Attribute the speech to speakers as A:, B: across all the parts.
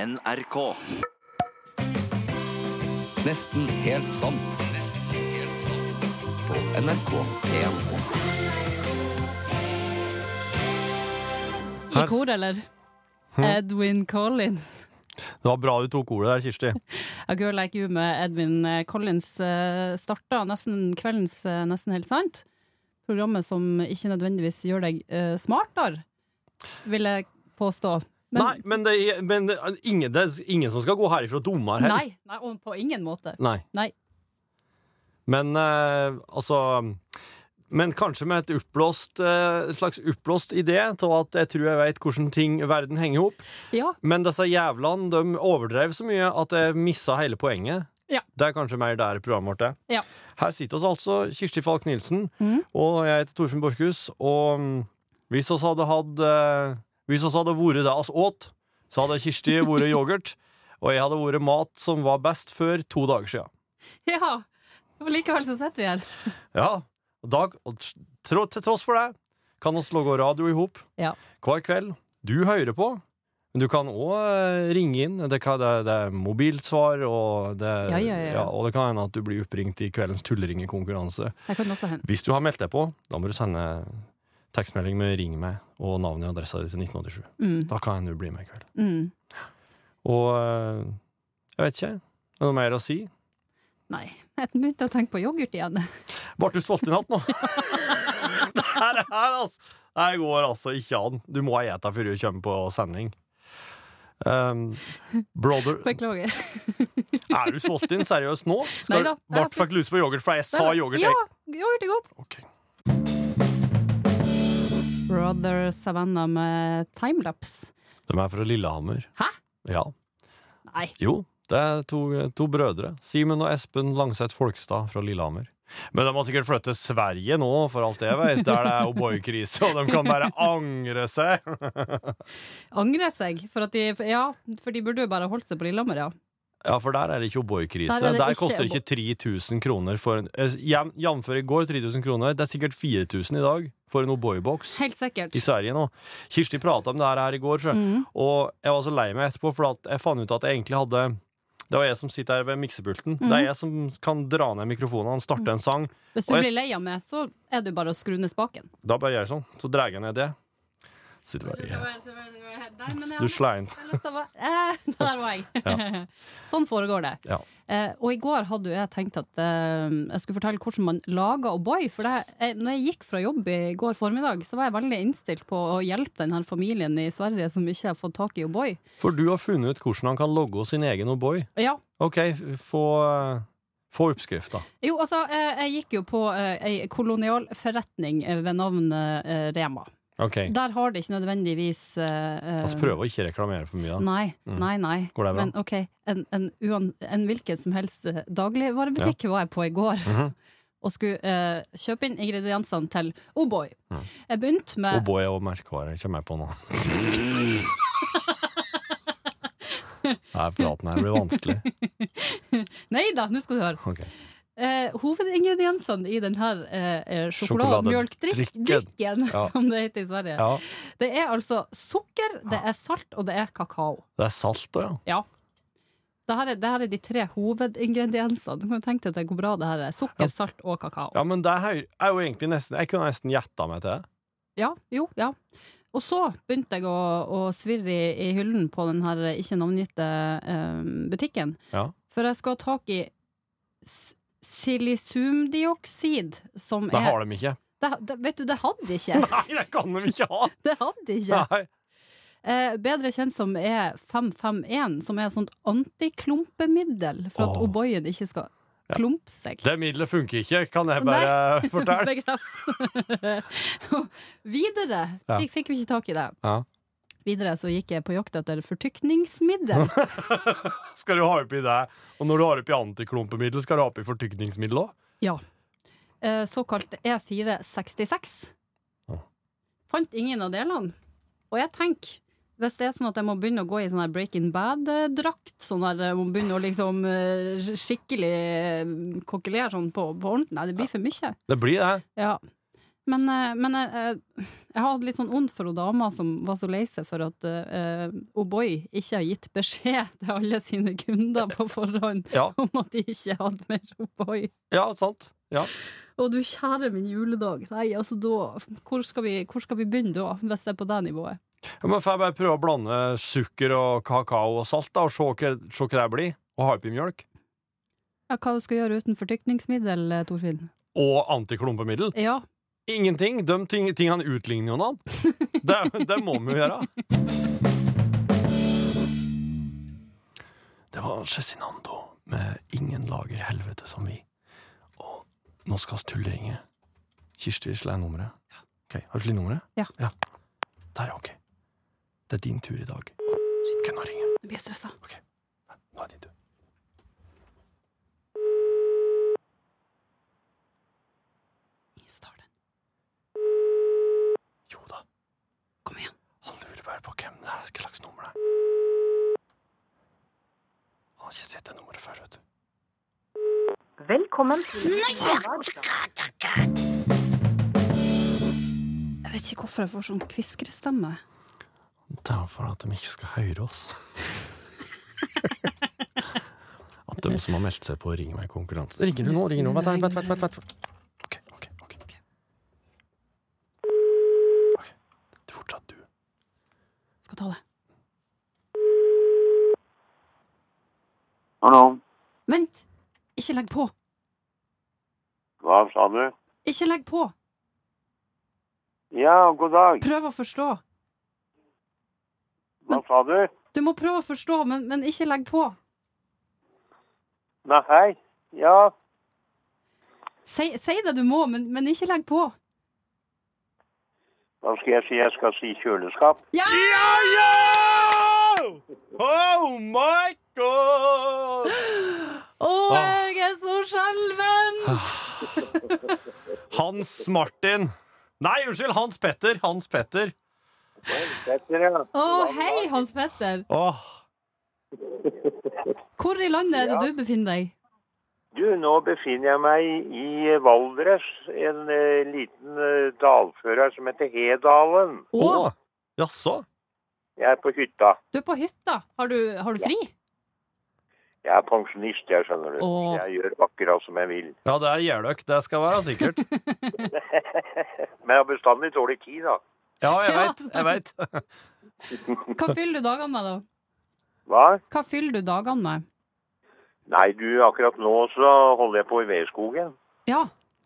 A: NRK.
B: Nesten helt sant. Nesten helt sant. På NRK P1.
C: I
D: Her-
C: kor, eller? Edwin Collins.
D: Det var bra du tok ordet der, Kirsti.
C: A Girl Like You med Edwin eh, Collins eh, starta nesten kveldens eh, Nesten helt sant. Programmet som ikke nødvendigvis gjør deg eh, smartere, vil jeg påstå. Men-
D: nei, men, det, er- men det, er ingen, det er ingen som skal gå herifra dummere heller.
C: Nei, nei, og på ingen måte.
D: Nei.
C: Nei.
D: Men eh, altså Men kanskje med et oppblåst eh, et slags oppblåst idé til at jeg tror jeg vet hvordan ting verden henger ihop.
C: Ja,
D: Men disse jævlene de overdrev så mye at jeg missa hele poenget.
C: Ja.
D: Det er kanskje mer der programmet vårt er.
C: Ja.
D: Her sitter oss altså Kirsti Falk Nilsen,
C: Mhm.
D: og jeg heter Torfinn Borchhus. Og mm, hvis oss hadde hatt eh, Hvis oss hadde vært det oss åt, så hadde Kirsti vært yoghurt, og jeg hadde vært mat som var best før to dager siden.
C: ja. Og likevel så sitter vi her.
D: Ja, og da, og tr- tro, til tross for det kan oss logge radio ihop
C: Ja.
D: hver kveld. Du hører på, men du kan også eh, ringe inn. Det, kan, det, det er mobilsvar, og det,
C: Ja, ja, ja.
D: og det kan hende at du blir oppringt i kveldens tulleringekonkurranse.
C: Jeg kan også hende.
D: Hvis du har meldt deg på, da må du sende tekstmelding med 'ring meg' og navnet og adressa di til 1987.
C: Mm,
D: Da kan du bli med i kveld.
C: mm.
D: Og eh, jeg vet ikke, er det noe mer å si?
C: Nei. Jeg begynte å tenke på yoghurt igjen.
D: Ble du sulten i natt nå? det her, er, altså Det her går altså ikke an. Du må ete før du kommer på sending. Um, brother
C: Beklager.
D: Er du sulten? Seriøst nå?
C: Nei
D: Skal
C: da,
D: du
C: det er
D: Ble fikk lyst på yoghurt, for jeg sa yoghurt.
C: Ja,
D: jeg.
C: yoghurt er godt.
D: Ok.
C: Brother Savannah med timelapse.
D: De er fra Lillehammer.
C: Hæ?
D: Ja.
C: Nei.
D: Jo, det er to, to brødre. Simen og Espen Langseth Folkstad fra Lillehammer. Men de må sikkert flytte til Sverige nå, for alt jeg vet, der det er O'boy-krise, og de kan bare angre seg.
C: Angrer seg, for, at de, ja, for de burde jo bare holdt seg på Lillehammer, ja.
D: Ja, for der er det ikke O'boy-krise.
C: Der er
D: Der,
C: det ikke
D: koster ikke 3000 kroner for en eh, jam- Jamfør i går 3000 kroner. Det er sikkert 4000 i dag for en O'boy-boks
C: Helt sikkert.
D: i Sverige nå. Kirsti prata om det her, her i går, sjø.
C: Mm.
D: og jeg var så lei meg etterpå, for at jeg fant ut at jeg egentlig hadde det var jeg som sitter her ved miksepulten. Det
C: Mm.
D: er jeg som kan dra ned mikrofonene, starte en sang.
C: Hvis du
D: Og jeg
C: blir
D: s-
C: lei av meg, så er det jo bare å skru ned spaken.
D: Da bare gjør jeg sånn. Så drar jeg ned det. Sitter bare ja. Du slein.
C: Eh, Der var jeg. Sånn foregår det.
D: Ja.
C: Eh, og i går hadde jo jeg tenkt at eh, jeg skulle fortelle hvordan man lager O'boy. For det, eh, når jeg gikk fra jobb i går formiddag, så var jeg veldig innstilt på å hjelpe denne familien i Sverige som ikke har fått tak i O'boy.
D: For du har funnet ut hvordan han kan logge sin egen O'boy.
C: Ja,
D: OK, f- få, eh, få oppskrifta.
C: Jo, altså, eh, jeg gikk jo på eh, ei kolonial forretning eh, ved navn eh, Rema.
D: OK.
C: Der har det ikke nødvendigvis eh, eh,
D: Altså prøve å ikke reklamere for mye. da.
C: Nei, nei, nei.
D: Mm. Går det bra?
C: Men ok, en, en, uan, en hvilken som helst eh, dagligvarebutikk var jeg på i går.
D: Mhm.
C: Og skulle eh, kjøpe inn ingrediensene til O'boy.
D: Mm.
C: Jeg begynte med
D: O'boy og merkevare kommer jeg på nå. Nei, praten her blir vanskelig.
C: Nei da, nå skal du høre.
D: Ok.
C: Eh, hovedingrediensene i denne eh,
D: Sjokoladedrikken.
C: sjokolademjølkdrikken,
D: Ja.
C: som det heter i Sverige,
D: Ja,
C: det er altså sukker, det er salt, og det er kakao.
D: det er salt òg, ja.
C: Ja. Det her, er, det her er de tre hovedingrediensene. Du kan jo tenke deg hvor bra det her er. Sukker, salt og kakao.
D: Ja, men det er jo- er jo egentlig nesten Jeg kunne nesten gjetta meg til det.
C: Ja, jo, ja. Og så begynte jeg å, å svirre i, i hyllen på den her ikke navngitte eh, butikken.
D: Ja.
C: For jeg skal ha tak i s- silisumdioksid, som
D: Det
C: er
D: har de ikke.
C: det, det, Vet du, det hadde de ikke!
D: Nei, det kan de ikke ha!
C: Det hadde de ikke!
D: Nei.
C: Eh, bedre kjent som er 551, som er et sånt antiklumpemiddel for at
D: Åh.
C: O'boyen ikke skal klumpe seg.
D: Det middelet funker ikke, kan jeg bare fortelle.
C: Bekreft. Videre
D: Ja.
C: fikk, fikk vi ikke tak i det.
D: Ja.
C: Videre så gikk jeg på jakt etter fortykningsmiddel.
D: Skal du ha oppi det? Og når du har oppi antiklumpemiddel, skal du ha oppi fortykningsmiddel òg?
C: ja. Eh, Såkalt E466.
D: Ja.
C: Fant ingen av delene. Og jeg tenker hvis det er sånn at jeg må begynne å gå i sånn her Breaking Bad-drakt, sånn her, jeg må begynne å liksom eh, skikkelig eh, kokkelere sånn på, på ordentlig Nei, det blir for mye.
D: Det blir det.
C: Ja. Men, eh, men jeg, jeg, jeg har hatt litt sånn ondt for hun dama som var så lei seg for at eh, O'boy ikke har gitt beskjed til alle sine kunder på forhånd
D: Ja,
C: om at de ikke hadde mer O'boy.
D: ja sant. Ja.
C: Å du kjære min juledag, nei altså da Hvor skal vi, hvor skal vi begynne da, hvis det er på det nivået?
D: Ja, men får jeg bare prøve å blande sukker og kakao og salt, da, og se hva, se hva det blir? Og ha oppi mjølk?
C: Ja, hva du skal gjøre uten fortykningsmiddel, eh, Torfinn?
D: Og antiklumpemiddel?
C: Ja,
D: Ingenting! De ting, tingene utligner jo noen. Det, det må vi jo gjøre. Det var Cezinando med 'Ingen lager helvete som vi'. Og nå skal vi tullringe. Kirsti, slå nummeret. Ok, Har du slått nummeret?
C: Ja.
D: Der, ja. Ok. Det er din tur i dag. Hvem har ringt?
C: nå blir jeg stressa.
D: Nå er din tur.
C: Jeg tar den.
D: Jo da,
C: Kom igjen.
D: han lurer bare på hvem det er, hva slags nummer det er. Han har ikke sett det nummeret før, vet du.
A: Velkommen til
C: Jeg vet ikke hvorfor jeg får sånn kviskrestemme.
D: Det er for at de ikke skal høre oss. at de som har meldt seg på Ring meg konkurranse Ringer du nå? Ringer du nå? Vent, vent, vent, vent, vent, vent. Ok, ok, ok. Ok, det er fortsatt du.
C: Skal ta det.
E: Hallo.
C: Vent! Ikke legg på!
E: Hva sa du?
C: Ikke legg på!
E: Ja, god dag.
C: Prøv å forstå.
E: Hva sa du?
C: Du må prøve å forstå, men, men ikke legg på.
E: Nei, hei. Ja,
C: Si, si det du må, men, men ikke legg på.
E: da skal jeg si jeg skal si kjøleskap.
C: Ja!
D: Ja, ja! Oh my god!
C: Å,
D: Ah.
C: jeg er så skjelven!
D: Hans Martin. Nei, unnskyld, Hans Petter. Hans Petter.
E: Petter, ja.
C: Å, hei, Hans Petter.
D: Åh,
C: Hvor i landet er det du befinner deg?
E: Du, nå befinner jeg meg i Valdres, en eh, liten eh, dalfører som heter Hedalen.
C: Å,
D: åh. Jaså?
E: Jeg er på hytta.
C: du er på hytta. Har du, har du fri?
E: Jeg er pensjonist, jeg skjønner du.
C: Åh.
E: Jeg gjør akkurat som jeg vil.
D: Ja, det er gjerdøk. Det skal være sikkert.
E: Men jeg har bestandig dårlig tid, da.
D: Ja, jeg
C: Ja.
D: veit. Jeg vet.
C: Hva fyller du dagene med, da?
E: Hva?
C: Hva fyller du dagene med?
E: Nei, du, akkurat nå så holder jeg på i Vedskogen.
C: Ja.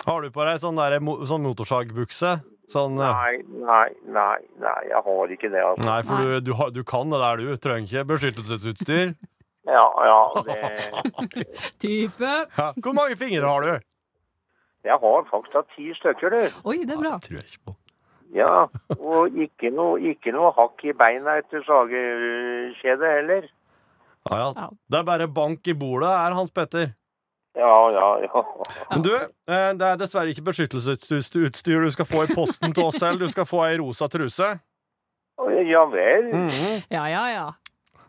D: Har du på deg sånn, der, mo- sånn motorsagbukse? Sånn eh,
E: Nei, nei, nei, nei, jeg har ikke det, altså.
D: Nei, for du, du, har, du kan det der, du. Trenger ikke beskyttelsesutstyr.
E: Ja, ja, det...
C: Type.
D: Ja. Hvor mange fingre har du?
E: Jeg har faktisk hatt ti stykker, du.
C: Oi, det er bra.
D: Det tror jeg ikke på.
E: Ja, og ikke noe, ikke noe hakk i beina etter sagekjedet heller.
D: Ja, ja.
C: Ja.
D: Det er bare bank i bordet, er Hans Petter.
E: Ja, ja, ja.
D: Men du, eh, det er dessverre ikke beskyttelsesutstyr du skal få i posten til oss selv. Du skal få ei rosa truse.
E: Ja vel,
D: Mhm.
C: Ja, ja, ja.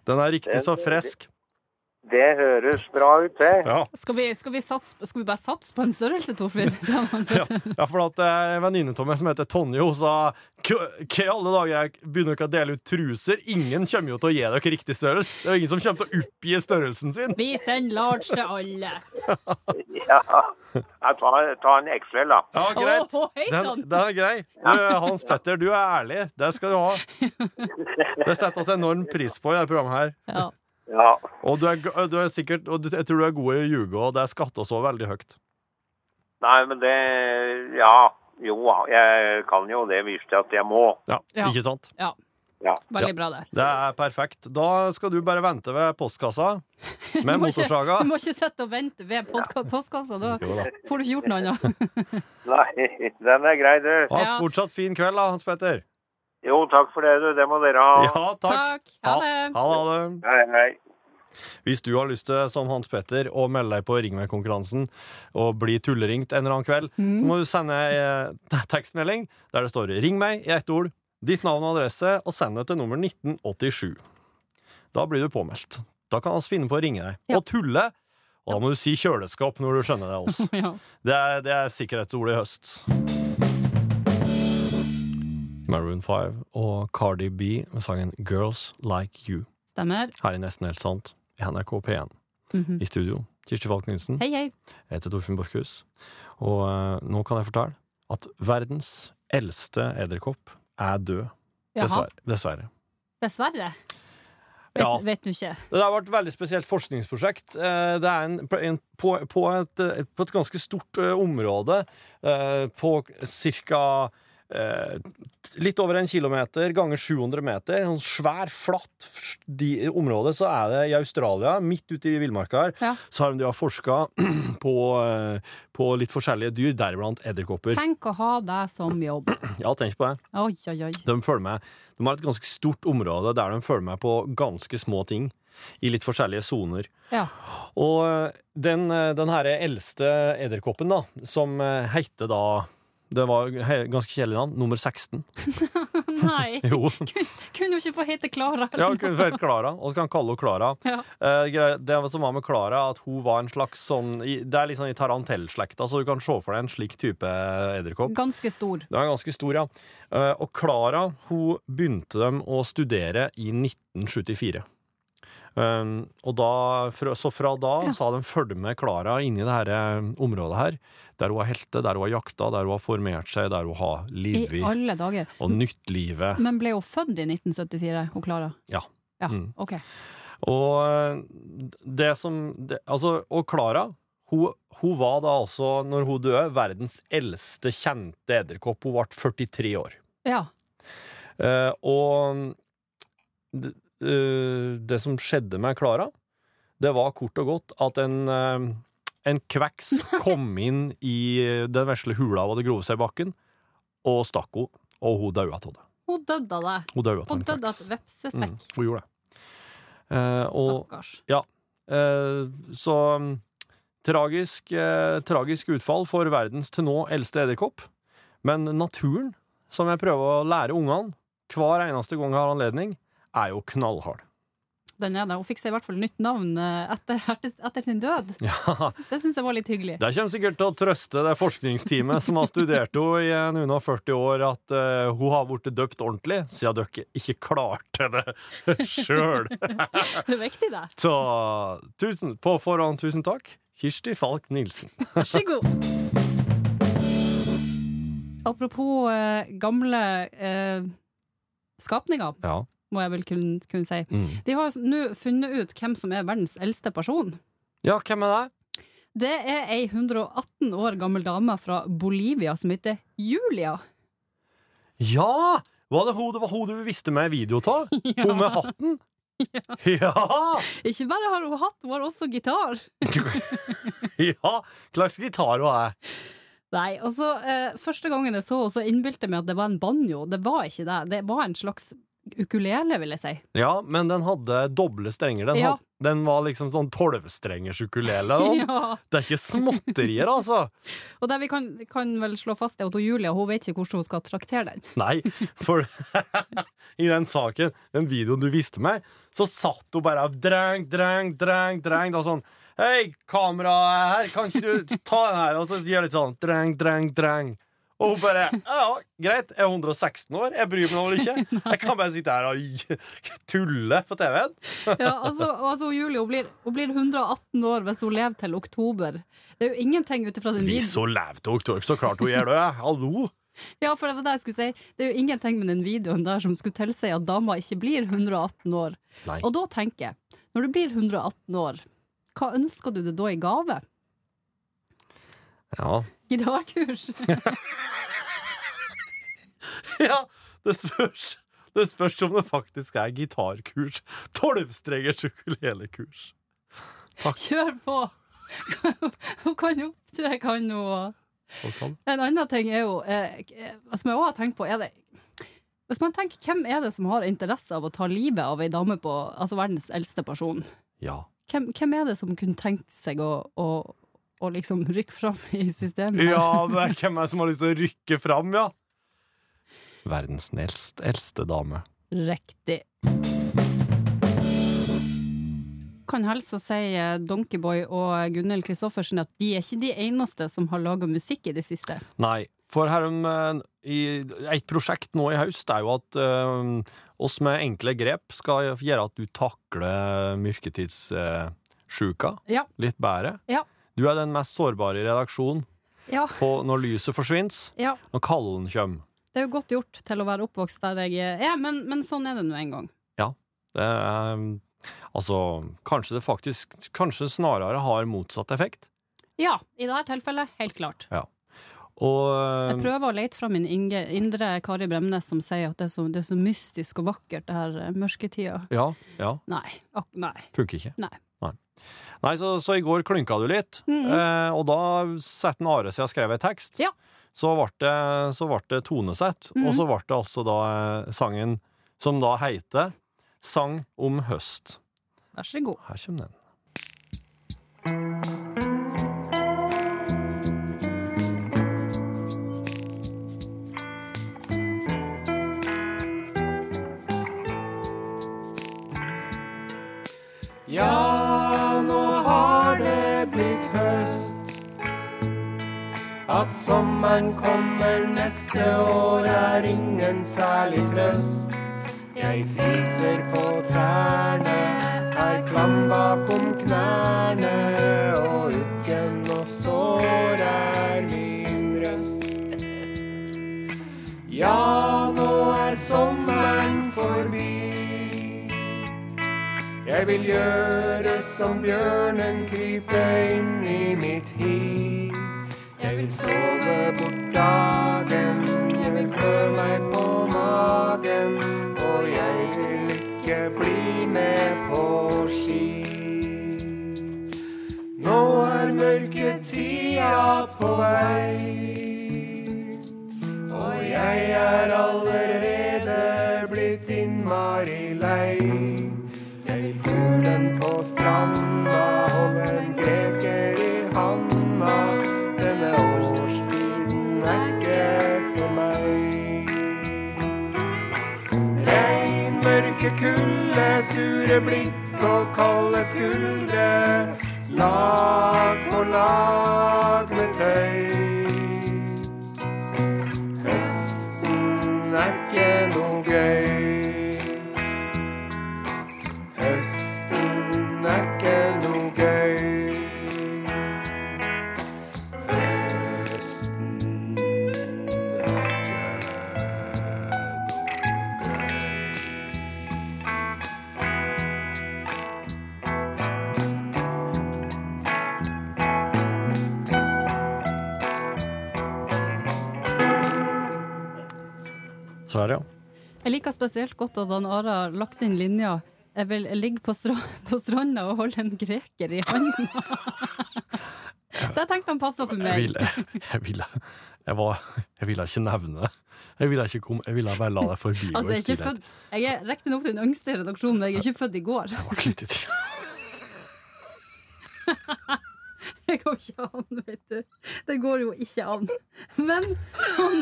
D: Den er riktig så frisk.
E: det høres bra ut, det.
D: Ja.
C: Skal vi, skal vi, satse, skal vi bare satse på en størrelse, Torfinn? Det er Hans
D: Ja,
C: Petter.
D: ja, for at det er en venninne av meg som heter Tonje, hun sa Hva hva i alle dager jeg begynner dere å dele ut truser? Ingen kommer jo til å gi dere riktig størrelse. Det er jo ingen som kommer til å oppgi størrelsen sin.
C: Vi sender large til alle.
E: Ja. Jeg tar, tar en XL, da.
D: Ja, greit.
C: Å, hei
D: Den,
C: sann!
D: den er grei. Du, Hans Petter, du er ærlig. Det skal du ha. Det setter oss enorm pris på i dette programmet her.
C: Ja.
E: Ja,
D: Og du er, g- du er sikkert Og du- jeg tror du er god i å ljuge, og det er skatta så veldig høyt.
E: nei, men det... Ja, jo, jeg kan jo det hvis det at jeg må.
D: Ja,
C: Ja.
D: ikke sant?
C: ja.
E: Ja.
D: Ja.
C: Veldig bra, det.
D: Det er perfekt. Da skal du bare vente ved postkassa med
C: Du må ikke-
D: motorsaga.
C: Du må ikke sitte og vente ved podka- postkassa, da
D: Jo da.
C: får du ikke gjort noe annet.
E: Nei, den er grei, du.
D: Ha
C: Ja.
D: fortsatt fin kveld, da, Hans Petter.
E: Jo, takk for det, du. Det må dere ha.
D: Ja, takk.
C: Takk. Ha det.
D: Ha, ha det.
E: Hei, hei.
D: Hvis du har lyst til, som Hans Petter, å melde deg på Ring meg-konkurransen og bli tulleringt en eller annen kveld, så må du sende en eh, tekstmelding der det står 'ring meg' i ett ord, ditt navn og adresse, og send det til nummer 1987. Da blir du påmeldt. Da kan vi finne på å ringe deg.
C: Ja.
D: Og tulle! Og da må du si kjøleskap når du skjønner det av oss.
C: Ja.
D: Det er, det er sikkerhetsordet i høst. Maroon 5 og Cardi B med sangen Girls Like You.
C: Stemmer.
D: Her i Nesten helt sant i NRK P1.
C: Mhm.
D: I studio Kirsti Falk Nilsen.
C: Hei, hei.
D: Jeg heter Torfinn Borchhus. Og eh, nå kan jeg fortelle at verdens eldste edderkopp er død.
C: Jaha.
D: Dessverre. Dessverre.
C: Dessverre. Vet,
D: Ja.
C: vet du ikke.
D: Det der var et veldig spesielt forskningsprosjekt. Eh, Det er en, en, på, på, et, eh, på et ganske stort eh, område, eh, på ca. Litt over en kilometer ganger 700 meter. En sånn svær, flatt f- de, område. Så er det i Australia, midt ute i villmarka her,
C: Ja.
D: så har de da forska på, eh, på litt forskjellige dyr, deriblant edderkopper.
C: Tenk å ha deg som jobb.
D: Ja, tenk på det.
C: Oi, oi, oi.
D: De følger med De har et ganske stort område der de følger med på ganske små ting. I litt forskjellige soner.
C: Ja.
D: Og eh, den, eh, den her eldste edderkoppen, da, som eh, heter da Det var he- ganske kjedelig navn. Nummer 16.
C: Nei.
D: Jo.
C: Kunne jo ikke få hete Klara.
D: Ja, hun het Klara, og så kan han kalle henne Klara.
C: Ja.
D: Eh, grei- Det som var med Klara, at hun var en slags sånn i- Det er litt sånn i tarantellslekta, så du kan se for deg en slik type edderkopp.
C: Ganske stor.
D: Den er ganske stor, ja. Eh, Og Klara hun begynte dem å studere i 1974. Um, og da, fra- så fra da så har de fulgt med Klara inni det her eh, området her. Der hun har heltet, der hun har jakta, der hun har formert seg, der hun har
C: I
D: livet
C: alle dager.
D: og nytt livet.
C: Men ble hun født i 1974, hun Klara?
D: Ja.
C: Ja,
D: Mm.
C: ok.
D: Og eh, det som det, Altså, og Klara hun, hun var da altså, når hun døde, verdens eldste kjente edderkopp. Hun ble 43 år.
C: Ja.
D: Eh, og det, eh, det som skjedde med Klara, det var kort og godt at en, eh, en kveks kom inn i den vesle hula hun hadde grovet seg i bakken, og stakk henne. Og hun daua av det.
C: Hun døde av det.
D: Hun daua av
C: Hun
D: en
C: døde av
D: kveks.
C: et vepsestekk.
D: Mm, hun gjorde det. Eh, og
C: Stakkars.
D: Eh, så mm, tragisk, eh, tragisk utfall for verdens til nå eldste edderkopp. Men naturen, som jeg prøver å lære ungene hver eneste gang jeg har anledning, er jo knallhard.
C: Den er det. Hun fikk seg i hvert fall nytt navn eh, etter, etter sin død.
D: Ja,
C: Det syns jeg var litt hyggelig.
D: Det kommer sikkert til å trøste det forskningsteamet som har studert henne i eh, en unna 40 år, at eh, hun har blitt døpt ordentlig, siden dere ikke klarte det sjøl.
C: Det er viktig, det.
D: Så tusen, på forhånd tusen takk, Kirsti Falk Nilsen.
C: Vær så god. Apropos eh, gamle eh, skapninger,
D: Ja.
C: må jeg vel kunne, kunne si.
D: Mm.
C: De har nå funnet ut hvem som er verdens eldste person.
D: ja, hvem er det?
C: Det er ei 118 år gammel dame fra Bolivia som heter Julia.
D: Ja! Var det hun, det var hun du visste med video av? Hun med hatten? Ja!
C: Ikke bare har hun hatt, hun har også gitar.
D: Ja! Hva slags gitar hun er.
C: Nei, og så eh, Første gangen jeg så henne, så innbilte jeg meg at det var en banjo. Det var ikke det. Det var en slags ukulele, vil jeg si.
D: Ja, men den hadde doble strenger. Den,
C: Ja.
D: had- den var liksom sånn tolvstrengers ukulele. den.
C: Ja.
D: Det er ikke småtterier, altså!
C: Og det vi kan, kan vel slå fast, er at hun Julia hun vet ikke hvordan hun skal traktere den.
D: Nei, for i den saken, den videoen du viste meg, så satt hun bare og dreng, dreng, dreng, dreng. Da sånn Hei, kameraet er her, kan ikke du ta den her? Og så gjør litt sånn dreng, dreng, dreng. Og hun bare Ja, greit, jeg er 116 år, jeg bryr meg vel ikke. Jeg kan bare sitte her og tulle på TV-en.
C: Ja, altså, altså hun Julia hun blir, hun blir 118 år hvis hun lever til oktober. Det er jo ingenting ut ifra den
D: Hvis
C: videoen
D: hun lever til oktober, så klart hun gjør det. Hallo!
C: Ja, for det var det jeg skulle si. Det er jo ingenting med den videoen der som skulle tilsi at dama ikke blir 118 år.
D: Nei.
C: Og da tenker jeg, når du blir 118 år, hva ønsker du deg da i gave?
D: Ja.
C: Gitarkurs?
D: Ja, det spørs. Det spørs om det faktisk er gitarkurs. Tolvstrengers ukulelekurs.
C: Kjør på! Hun kan opptre, kan hun.
D: Folk kan.
C: En annen ting er jo, eh, eh, som jeg også har tenkt på, er det Hvis man tenker, hvem er det som har interesse av å ta livet av ei dame på altså verdens eldste person?
D: Ja.
C: Hvem, hvem er det som kunne tenkt seg å, å, å liksom rykke fram i systemet?
D: Ja, men hvem er det som har lyst til å rykke fram, ja? Verdens eldst, eldste dame.
C: Riktig. Kan helst å si eh, Donkeyboy og Gunhild Kristoffersen at de er ikke de eneste som har laga musikk i det siste.
D: Nei, for her om eh, i et prosjekt nå i høst er jo at eh, oss med enkle grep skal gjøre at du takler mørketidssjuka
C: Ja.
D: litt bedre.
C: Ja.
D: Du er den mest sårbare i redaksjonen
C: Ja,
D: på når lyset forsvinner,
C: ja.
D: når kalden kommer.
C: Det er jo godt gjort til å være oppvokst der jeg er, men, men sånn er det nå en gang.
D: Det er, altså, kanskje det faktisk Kanskje snarere har motsatt effekt.
C: Ja, i dette tilfellet, helt klart. Jeg
D: Og eh,
C: prøver å lete fra min inge, indre Kari Bremnes som sier at det er så, det er så mystisk og vakkert, det her eh, mørketida.
D: Ja, ja.
C: Nei. Ak nei.
D: Funker ikke.
C: Nei. Mhm.
D: Nei, Nei, så, så i går klynka du litt, eh, og da setter en Are seg og skrev en tekst.
C: Ja. Mhm.
D: Så ble det, så vart det tonesett, og så ble det altså da eh, sangen som da heter Sang om høst.
C: Vær så god.
D: Her kommer den.
A: Ja, nå har det blitt høst. At sommeren kommer neste år er ingen særlig trøst. Jeg fryser på trærne, er klam bakom knærne. Og uggen og sår er min røst. Ja, nå er sommeren forbi. Jeg vil gjøre som bjørnen, krype inn i mitt hi. Jeg vil sove bort dagen, jeg vil klø meg på magen. Og jeg vil ikke bli med på ski. Nå er mørketida på vei. Og jeg er allerede blitt innmari lei. Jeg vil fuglen på stranda, holde en greker i handa. Denne årstiden er ikke for meg. Regn, mørke kulde, sure blikk og kalde skuldre. Lag på lag med tøy. Høsten er ikke noe gøy. Høsten er ikke noe gøy. Høsten er ikke noe gøy.
D: Sverre, ja.
C: Jeg liker spesielt godt at han Ara har lagt inn linja. Jeg vil ligge på, stra på stranda og holde en greker i hånda. Det tenkte han passa for
D: Jeg
C: meg.
D: ville, jeg ville, jeg var, jeg ville ikke nevne det. Jeg ville ikke komme, jeg ville bare la deg forbigå
C: Altså, jeg er,
D: i
C: ikke
D: stillhet.
C: født, jeg er riktignok den yngste i redaksjonen, men jeg er ikke født i går.
D: Jeg ble litt i tvil.
C: Det går ikke an, vet du. Det går jo ikke an. Men sånn,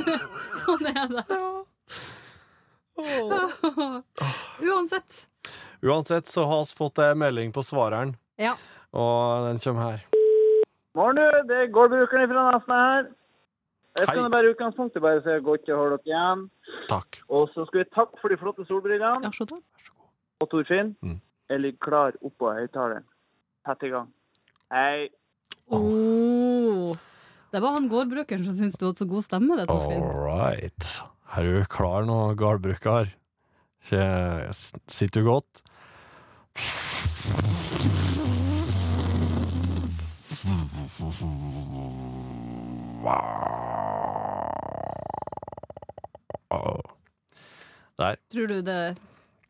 C: sånn er det. Uansett.
D: Uansett så har vi fått en melding på svareren,
C: Ja.
D: og den kommer her.
F: Morgen, du. Det er gårdbrukeren fra Nesna her. Jeg
D: Hei.
F: skal nå bare i utgangspunktet bare si godt å holde dere igjen.
D: Takk.
F: Og så skal vi takke for de flotte solbrillene.
C: ja, se der.
F: Og Torfinn,
D: Mm.
F: jeg ligger klar oppå høyttaleren. Sett i gang. Hei.
C: Åh. Oh. Det var han gårdbrukeren som syntes du hadde så god stemme, det, Torfinn.
D: All right. Er du klar nå, gardbruker? Kje- s- Sitter du godt? Der.
C: Tror du det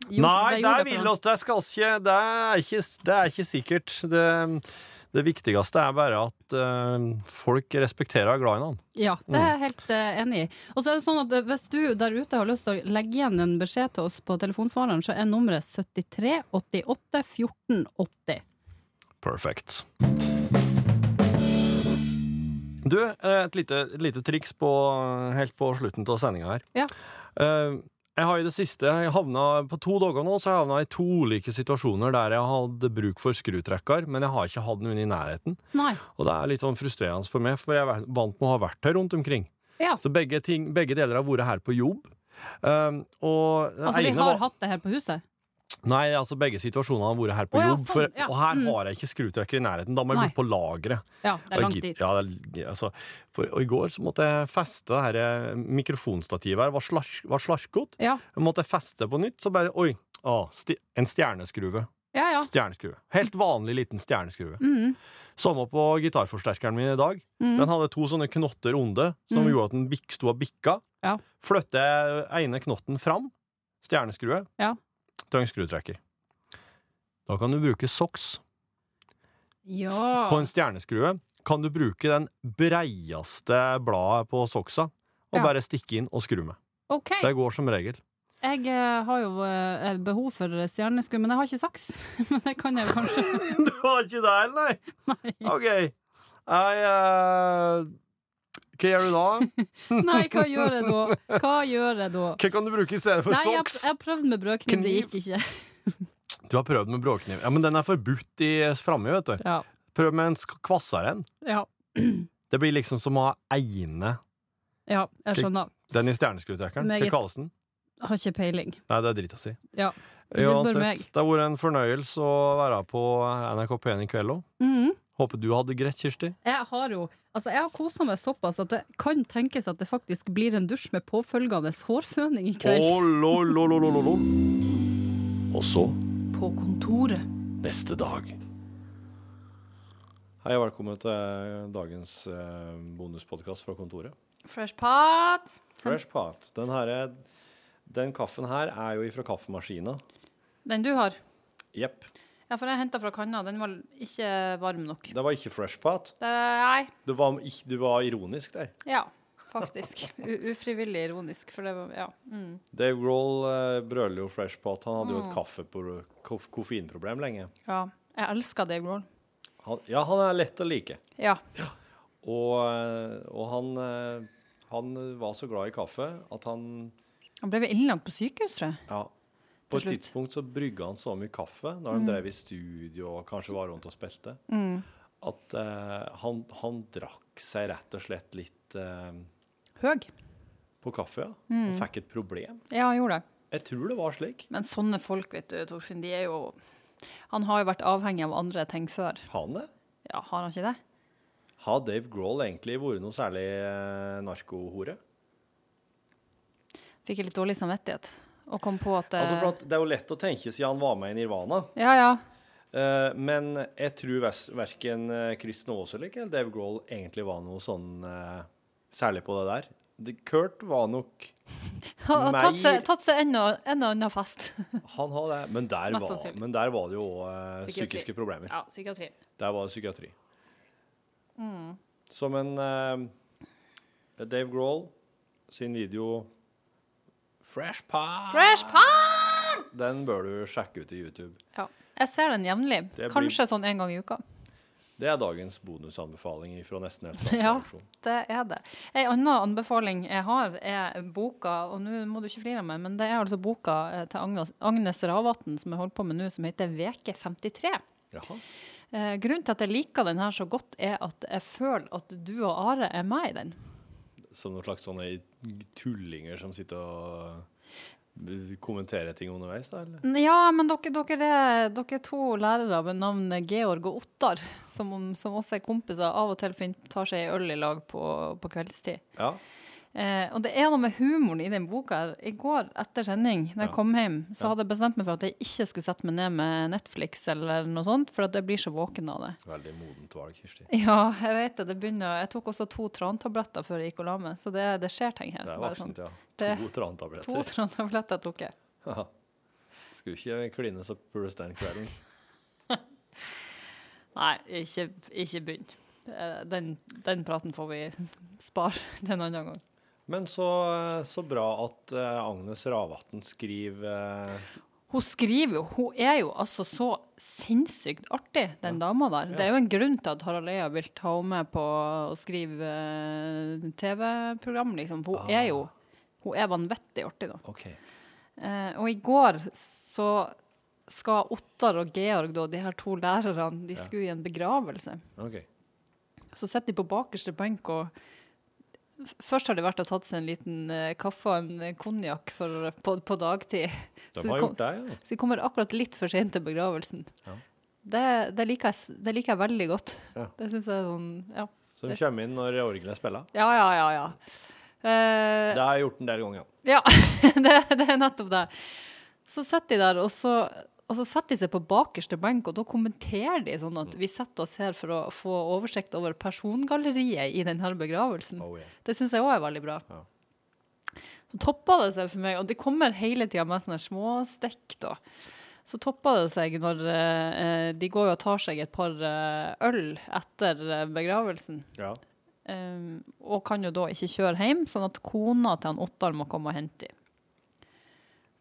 C: gjorde-
D: Nei,
C: det gjorde det
D: der
C: for
D: vil
C: han?
D: oss det skal oss ikke Det er ikke, det er ikke sikkert. Det, det viktigste er bare at eh, folk respekterer og er glad i noen.
C: Ja, det
D: Mm.
C: er jeg helt eh, enig i. Og så er det sånn at eh, Hvis du der ute har lyst til å legge igjen en beskjed til oss på telefonsvareren, så er nummeret 73 88 14 80.
D: Perfect. Du, eh, et lite, et lite triks på, eh, helt på slutten av sendinga her.
C: Ja.
D: Eh, Jeg har i det siste jeg havna, På to dager nå så har jeg havna i to ulike situasjoner der jeg hadde bruk for skrutrekker, men jeg har ikke hatt noen i nærheten.
C: Nei.
D: Og det er litt sånn frustrerende for meg, for jeg er vant med å ha verktøy rundt omkring.
G: Ja.
D: Så begge, ting, begge deler har vært her på jobb. Um, og
G: Altså, vi
D: ene
G: har
D: var,
G: hatt det her på huset.
D: nei, altså begge situasjonene har vært her på
G: Å ja,
D: jobb. For,
G: sånn, ja.
D: Og her
G: Mm.
D: har jeg ikke skrutrekker i nærheten. Da må jeg
G: Nei.
D: gå på lageret.
G: Ja, det er
D: Og
G: langt
D: jeg
G: dit.
D: gidder- Ja, det er, altså, for, og i går så måtte jeg feste det her eh, mikrofonstativet her. Var, slark, var slarkete.
G: Ja,
D: Jeg måtte feste på nytt, så bare Oi! Å, sti, en stjerneskrue.
G: ja. ja.
D: Stjerneskrue. Helt vanlig liten stjerneskrue.
G: Mm,
D: Samme på gitarforsterkeren min i dag.
G: mm.
D: Den hadde to sånne knotter onde som
G: Mm.
D: gjorde at den bik- sto og bikka.
G: Ja.
D: Flytter jeg ene knotten fram, stjerneskrue,
G: Ja.
D: trang skrutrekker. Da kan du bruke soks.
G: ja.
D: St- På en stjerneskrue kan du bruke den breieste bladet på soksa og
G: Ja.
D: bare stikke inn og skru med.
G: OK.
D: Det går som regel.
G: Jeg eh, har jo eh, behov for stjerneskum, men jeg har ikke saks. Men det kan jeg jo kanskje.
D: Du var ikke der, nei?
G: Nei.
D: OK. Jeg eh, Hva gjør du da?
G: Nei, hva gjør jeg da? Hva gjør jeg da?
D: Hva kan du bruke i stedet for
G: Nei, jeg,
D: soks?
G: jeg prøvde med brødkniv, det
D: Kniv.
G: gikk ikke.
D: Du har prøvd med bråkniv. Ja, men den er forbudt i framme, vet du.
G: Ja.
D: Prøv med en sk- kvassere en.
G: Ja.
D: Det blir liksom som å ha eine
G: ja, jeg skjønner.
D: den i stjerneskrutrekkeren. Hva
G: Meget.
D: kalles den?
G: Har ikke peiling.
D: Nei, det er dritt å si.
G: Ja. Ikke spør meg.
D: Uansett, det har vært en fornøyelse å være på NRK P1 i kveld òg.
G: Mhm.
D: Håper du hadde greit, Kirsti.
G: Jeg har jo Altså, jeg har kosa meg såpass at det kan tenkes at det faktisk blir en dusj med påfølgende hårføning i kveld.
D: Og så
G: På kontoret.
D: neste dag. Hei og velkommen til dagens eh, bonuspodkast fra kontoret.
C: Fresh pot.
D: Fresh Pot. Den, her, den kaffen her er jo ifra kaffemaskina.
C: Den du har.
D: Jepp.
C: Ja, for jeg henta fra kanna. Den var ikke varm nok.
D: Det var ikke Fresh Pot.
C: Det, nei.
D: Du var, ikk- du var ironisk der.
C: Ja, faktisk. U ufrivillig ironisk, for det var Ja. Mm.
D: Dave Grohl eh, brøler jo Fresh Pot. Han hadde jo et kaffepro- koff- koffeinproblem lenge.
C: ja. Jeg elsker Dave Grohl.
D: Han, ja, han er lett å like.
C: Ja.
D: Og, eh, og han, eh, han var så glad i kaffe at han
C: Han ble vel innlagt på sykehus, tror jeg.
D: ja, På et
C: Til slutt. Mm.
D: tidspunkt så brygga han så mye kaffe når han drev i studio og kanskje var rundt og spilte, at eh, han, han drakk seg rett og slett litt eh,
C: Høg.
D: på kaffe ja,
C: Mm.
D: og fikk et problem.
C: Ja, han gjorde det.
D: Jeg tror det var slik.
C: Men sånne folk, vet du, Torfinn, de er jo Han har jo vært avhengig av andre ting før.
D: Han det?
C: Ja, har han ikke det?
D: Har Dave Grohl egentlig vært noe særlig eh, narkohore?
C: Fikk jeg litt dårlig samvittighet og kom på at, eh,
D: Altså for at Det er jo lett å tenke siden han var med i Nirvana,
C: Ja, ja.
D: eh, men jeg tror vers- verken eh, Kristen Aas eller ikke Dave Grohl egentlig var noe sånn eh, særlig på det der. Det- Kurt var nok
C: Han har tatt
D: Nei.
C: seg, tatt seg en og en og annen fest.
D: Han har det, men der,
C: Mest
D: var,
C: sannsynlig.
D: men der var det jo eh,
C: Psykiatri.
D: psykiske problemer.
C: Ja, psykiatri.
D: Der var det psykiatri.
C: Mm.
D: Som en eh, Dave Grohl sin video Fresh Pie
C: Fresh
D: Den bør du sjekke ut i YouTube.
C: Ja. Jeg ser den jevnlig.
D: Det blir-
C: Kanskje sånn en gang i uka.
D: Det er dagens bonusanbefaling fra Nesten Helt
C: Ja.
D: Sant-redaksjon.
C: Det er det. Ei anna anbefaling jeg har, er boka Og nå må du ikke flire av meg, men det er altså boka eh, til Agnes, Agnes Ravatn som jeg holder på med nå, som heter Veke 53.
D: Jaha.
C: Eh, grunnen til at jeg liker den her så godt, er at jeg føler at du og Are er med i den.
D: Som noen slags sånne tullinger som sitter og eh, kommenterer ting underveis, da? Eller?
C: Ja, men dere, dere, er, dere er to lærere ved navn Georg og Ottar, som, som også er kompiser. Av og til fin- tar seg en øl i lag på, på kveldstid.
D: Ja.
C: Eh, og det er noe med humoren i den boka. her. I går etter sending, da jeg kom hjem, så hadde jeg bestemt meg for at jeg ikke skulle sette meg ned med Netflix eller noe sånt, for at jeg blir så våken av det.
D: Veldig modent valg, Kirsti.
C: Ja, jeg vet det. det begynner, jeg tok også to trantabletter før jeg gikk og la meg, så det, det skjer ting her.
D: Det er
C: bare sånn.
D: voksent, ja.
C: Det-
D: To
C: To
D: trantabletter.
C: trantabletter tok jeg.
D: Skulle ikke kline så pules den kvelden.
C: Nei, ikke, ikke begynn. Eh, Den, den praten får vi spare til en annen gang.
D: Men så, så bra at eh, Agnes Ravatn skriver eh,
C: Hun skriver jo, hun er jo altså så sinnssykt artig, den dama der. Det er jo en grunn til at Harald Eia vil ta henne med på å skrive eh, TV-program, liksom. For hun er jo hun er vanvittig artig, da.
D: Ah. OK.
C: Eh, og i går så skal Ottar og Georg, da, de her to lærerne, de skulle i en begravelse.
D: ok.
C: Så sitter de på bakerste benk og f- først har de vært og tatt seg en liten eh, kaffe og en eh, konjakk for- på, på dagtid.
H: De
C: Så det
H: har
C: kom-
H: gjort det, ja.
C: Så de kommer akkurat litt for sent til begravelsen. Det, det, liker jeg, s- det liker jeg veldig godt.
H: Ja.
C: Det syns jeg er sånn Ja,
H: Så de kommer inn når orgelet spiller.
C: ja, ja. ja, ja. Eh,
H: Det har jeg gjort en del ganger.
C: ja, det, det er nettopp det. Så sitter de der, og så, og så setter de seg på bakerste benk, og da kommenterer de sånn
H: Mm.
C: at vi setter oss her for å få oversikt over persongalleriet i denne begravelsen.
H: Oh, yeah.
C: Det syns jeg òg er veldig bra.
H: Ja.
C: Så topper det seg for meg, og det kommer hele tida med sånne småstikk, da. Så topper det seg når eh, eh, de går jo og tar seg et par eh, øl etter eh, begravelsen.
H: Ja.
C: Um, og kan jo da ikke kjøre hjem, sånn at kona til han Ottar må komme og hente dem.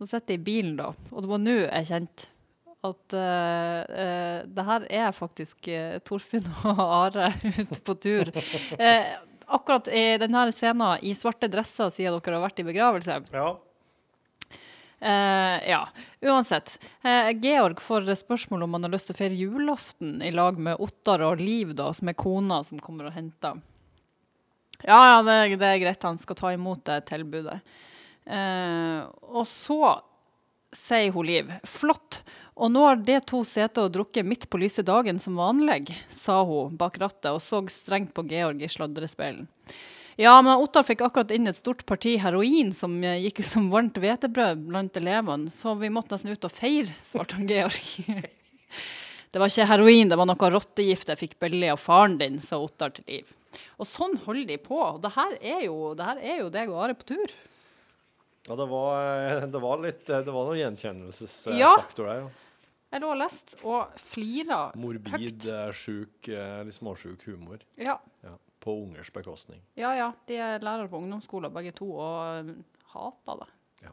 C: Så sitter jeg i bilen, da, og det var nå jeg kjente at eh, eh, det her er faktisk eh, Torfinn og Are ute på tur. Eh, akkurat i denne scenen i svarte dresser siden dere har vært i begravelse.
H: ja.
C: Eh, ja, uansett. Eh, Georg får spørsmål om han har lyst til å feire julaften i lag med Ottar og Liv, da, som er kona som kommer og henter. Ja, ja, det, det er greit, han skal ta imot det tilbudet. Eh, og så sier hun Liv, flott, og nå har de to sete og drukket midt på lyse dagen som vanlig, sa hun bak rattet og så strengt på Georg i sladrespeilen. Ja, men Ottar fikk akkurat inn et stort parti heroin som eh, gikk som varmt hvetebrød blant elevene, så vi måtte nesten ut og feire, svarte han Georg. Det var ikke heroin, det var noe rottegift jeg fikk billig av faren din, sa Ottar til Liv. Og sånn holder de på. og Det her er jo, det her er jo deg og Are på tur.
H: Ja, det var, eh, det var litt Det var noen gjenkjennelsesfaktor
C: Ja.
H: der, ja.
C: Jeg lå og leste og flira
H: Morbid, eh, sjuk, eh, litt småsjuk humor.
C: Ja,
H: Ja. På ungers bekostning.
C: ja, ja. De er lærere på ungdomsskolen begge to og um, hater det.
H: Ja.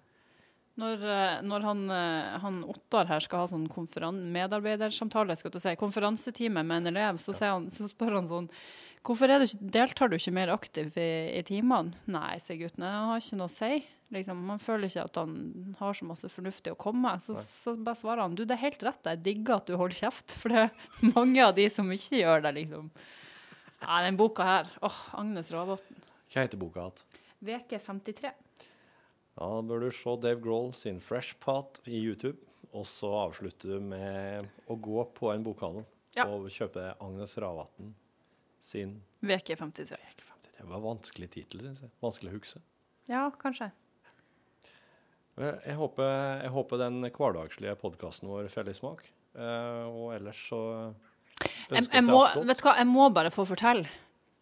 C: Når, eh, når han, eh, han Ottar her skal ha sånn konferan medarbeidersamtale, skal jeg til å si, konferansetime med en elev, så, sier han, så spør han sånn Hvorfor er du ikke, deltar du ikke mer aktiv i, i timene? Nei, sier gutten, jeg har ikke noe å si. Liksom, man føler ikke at han har så masse fornuftig å komme med. Så, så bare svarer han du, det er helt rett, jeg digger at du holder kjeft. For det er mange av de som ikke gjør det, liksom. Nei, den boka her. Åh, Agnes Ravatn.
H: Hva heter boka igjen?
C: Veke 53.
H: Ja, da bør du se Dave Grohl sin Fresh Pot i YouTube, og så avslutter du med å gå på en bokhandel
C: Ja.
H: og kjøpe Agnes Ravatn sin
C: Veke 53.
H: Det var en vanskelig tittel, syns jeg. Vanskelig å huske.
C: Ja, kanskje.
H: Jeg jeg håper, jeg håper den hverdagslige podkasten vår får litt smak. Eh, og ellers så
C: Jeg,
H: ønskes
C: jeg
H: det
C: må,
H: alt godt.
C: vet du hva, jeg må bare få fortelle.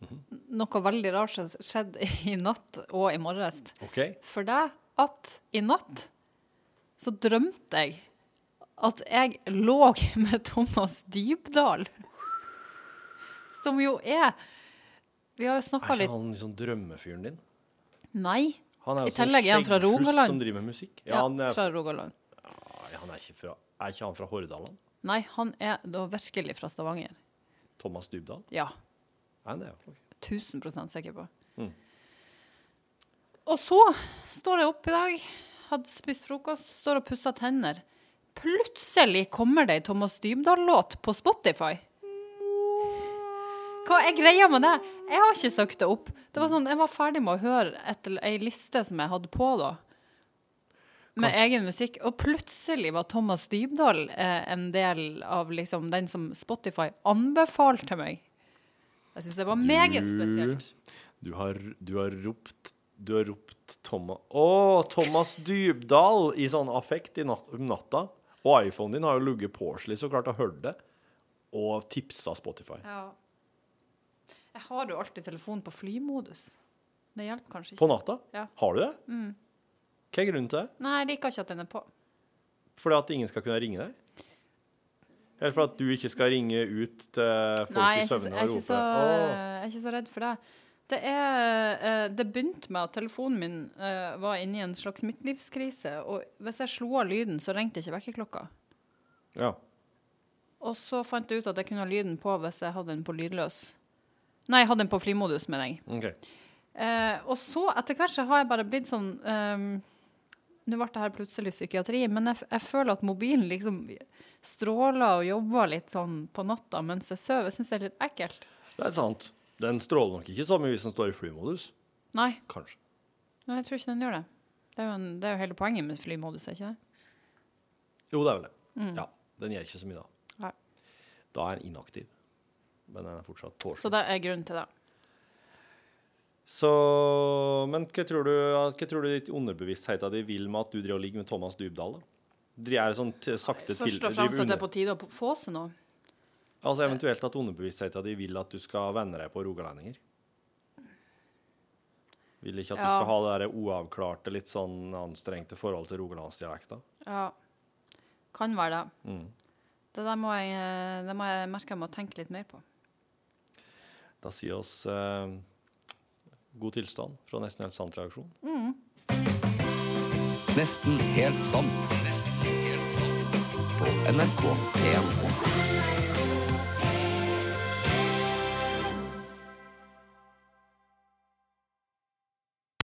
H: Mhm.
C: Noe veldig rart som skjedde i natt og i morges.
H: OK?
C: for deg at i natt så drømte jeg at jeg lå med Thomas Dybdahl. Som jo er Vi har jo snakka
H: Er ikke
C: litt
H: han liksom drømmefyren din?
C: Nei.
H: Han er
C: I
H: jo sånn
C: tillegg er han fra
H: skjeggfuss
C: Rogaland.
H: Som driver med musikk. Ja,
C: Ja,
H: han er,
C: fra Rogaland.
H: Nei, han er, ikke fra, er ikke han fra Hordaland?
C: Nei, han er da virkelig fra Stavanger.
H: Thomas Dybdahl?
C: Ja.
H: Er han det? ja? Ok.
C: 1000 sikker på.
H: Mm.
C: Og så står jeg opp i dag, hadde spist frokost, står og pusser tenner. Plutselig kommer det ei Thomas Dybdahl-låt på Spotify. Hva er greia med det? Jeg har ikke søkt det opp. Det var sånn, Jeg var ferdig med å høre et, ei liste som jeg hadde på da, med egen musikk, og plutselig var Thomas Dybdahl eh, en del av liksom den som Spotify anbefalte meg. Jeg syns det var meget spesielt.
H: Du har, du har ropt Du har ropt Thomas Å, Thomas Dybdahl! I sånn affekt i natt, om natta. Og iPhonen din har jo ligget påslig, så klart har hørt det. Og tipsa Spotify.
C: Ja. Jeg har jo alltid telefonen på flymodus. Det hjelper kanskje
H: På
C: ikke.
H: natta?
C: Ja. Mm.
H: Har du det? Hva er grunnen til det?
C: Nei, jeg liker ikke at den er på.
H: Fordi at ingen skal kunne ringe deg? Eller for at du ikke skal ringe ut til folk
C: Nei, jeg er,
H: i
C: ikke,
H: søvne
C: jeg, er
H: og
C: ikke
H: rope
C: så,
H: «Å,
C: jeg er ikke så redd for det. Det, er, eh, det begynte med at telefonen min eh, var inne i en slags midtlivskrise. Og hvis jeg slo av lyden, så ringte ikke vekkerklokka.
H: Ja.
C: Og så fant jeg ut at jeg kunne ha lyden på hvis jeg hadde den på lydløs. Nei, jeg hadde den på flymodus, mener jeg.
H: OK.
C: Eh, og så etter hvert så har jeg bare blitt sånn ehm, Nå ble det her plutselig psykiatri, men jeg, f- jeg føler at mobilen liksom stråler og jobber litt sånn på natta mens jeg sover. Jeg syns det er litt ekkelt.
H: Det er sant. Den stråler nok ikke så mye hvis den står i flymodus.
C: Nei,
D: Kanskje.
C: nei, jeg tror ikke den gjør det. Det er jo, en, det er jo hele poenget med flymodus, er ikke det?
D: Jo, det er vel det. Ja, Den gjør ikke så mye da.
C: Mm. Nei.
D: Da er den inaktiv. Men den er fortsatt
C: Så
D: påslått.
C: det er grunnen til det.
D: Så, men hva tror du, hva tror du ditt underbevisstheten din vil med at du driver og ligger med Thomas Dybdahl? da? Driver jeg sånn til, sakte til
C: Først og
D: driver
C: fremst at det er
D: under-
C: på tide å på- få seg noe.
D: Altså eventuelt at underbevisstheten din vil at du skal vende deg på rogalendinger? Vil ikke at du
C: Ja.
D: skal ha det der uavklarte, litt sånn anstrengte forhold til rogalandsdialekta?
C: Ja. Kan være det.
D: Mm.
C: Det der må jeg, eh, det må jeg merke jeg må tenke litt mer på.
D: Da sier oss eh, god tilstand fra Nesten helt sant-reaksjon.
B: Nesten helt sant. Nesten helt sant. På NRK P1.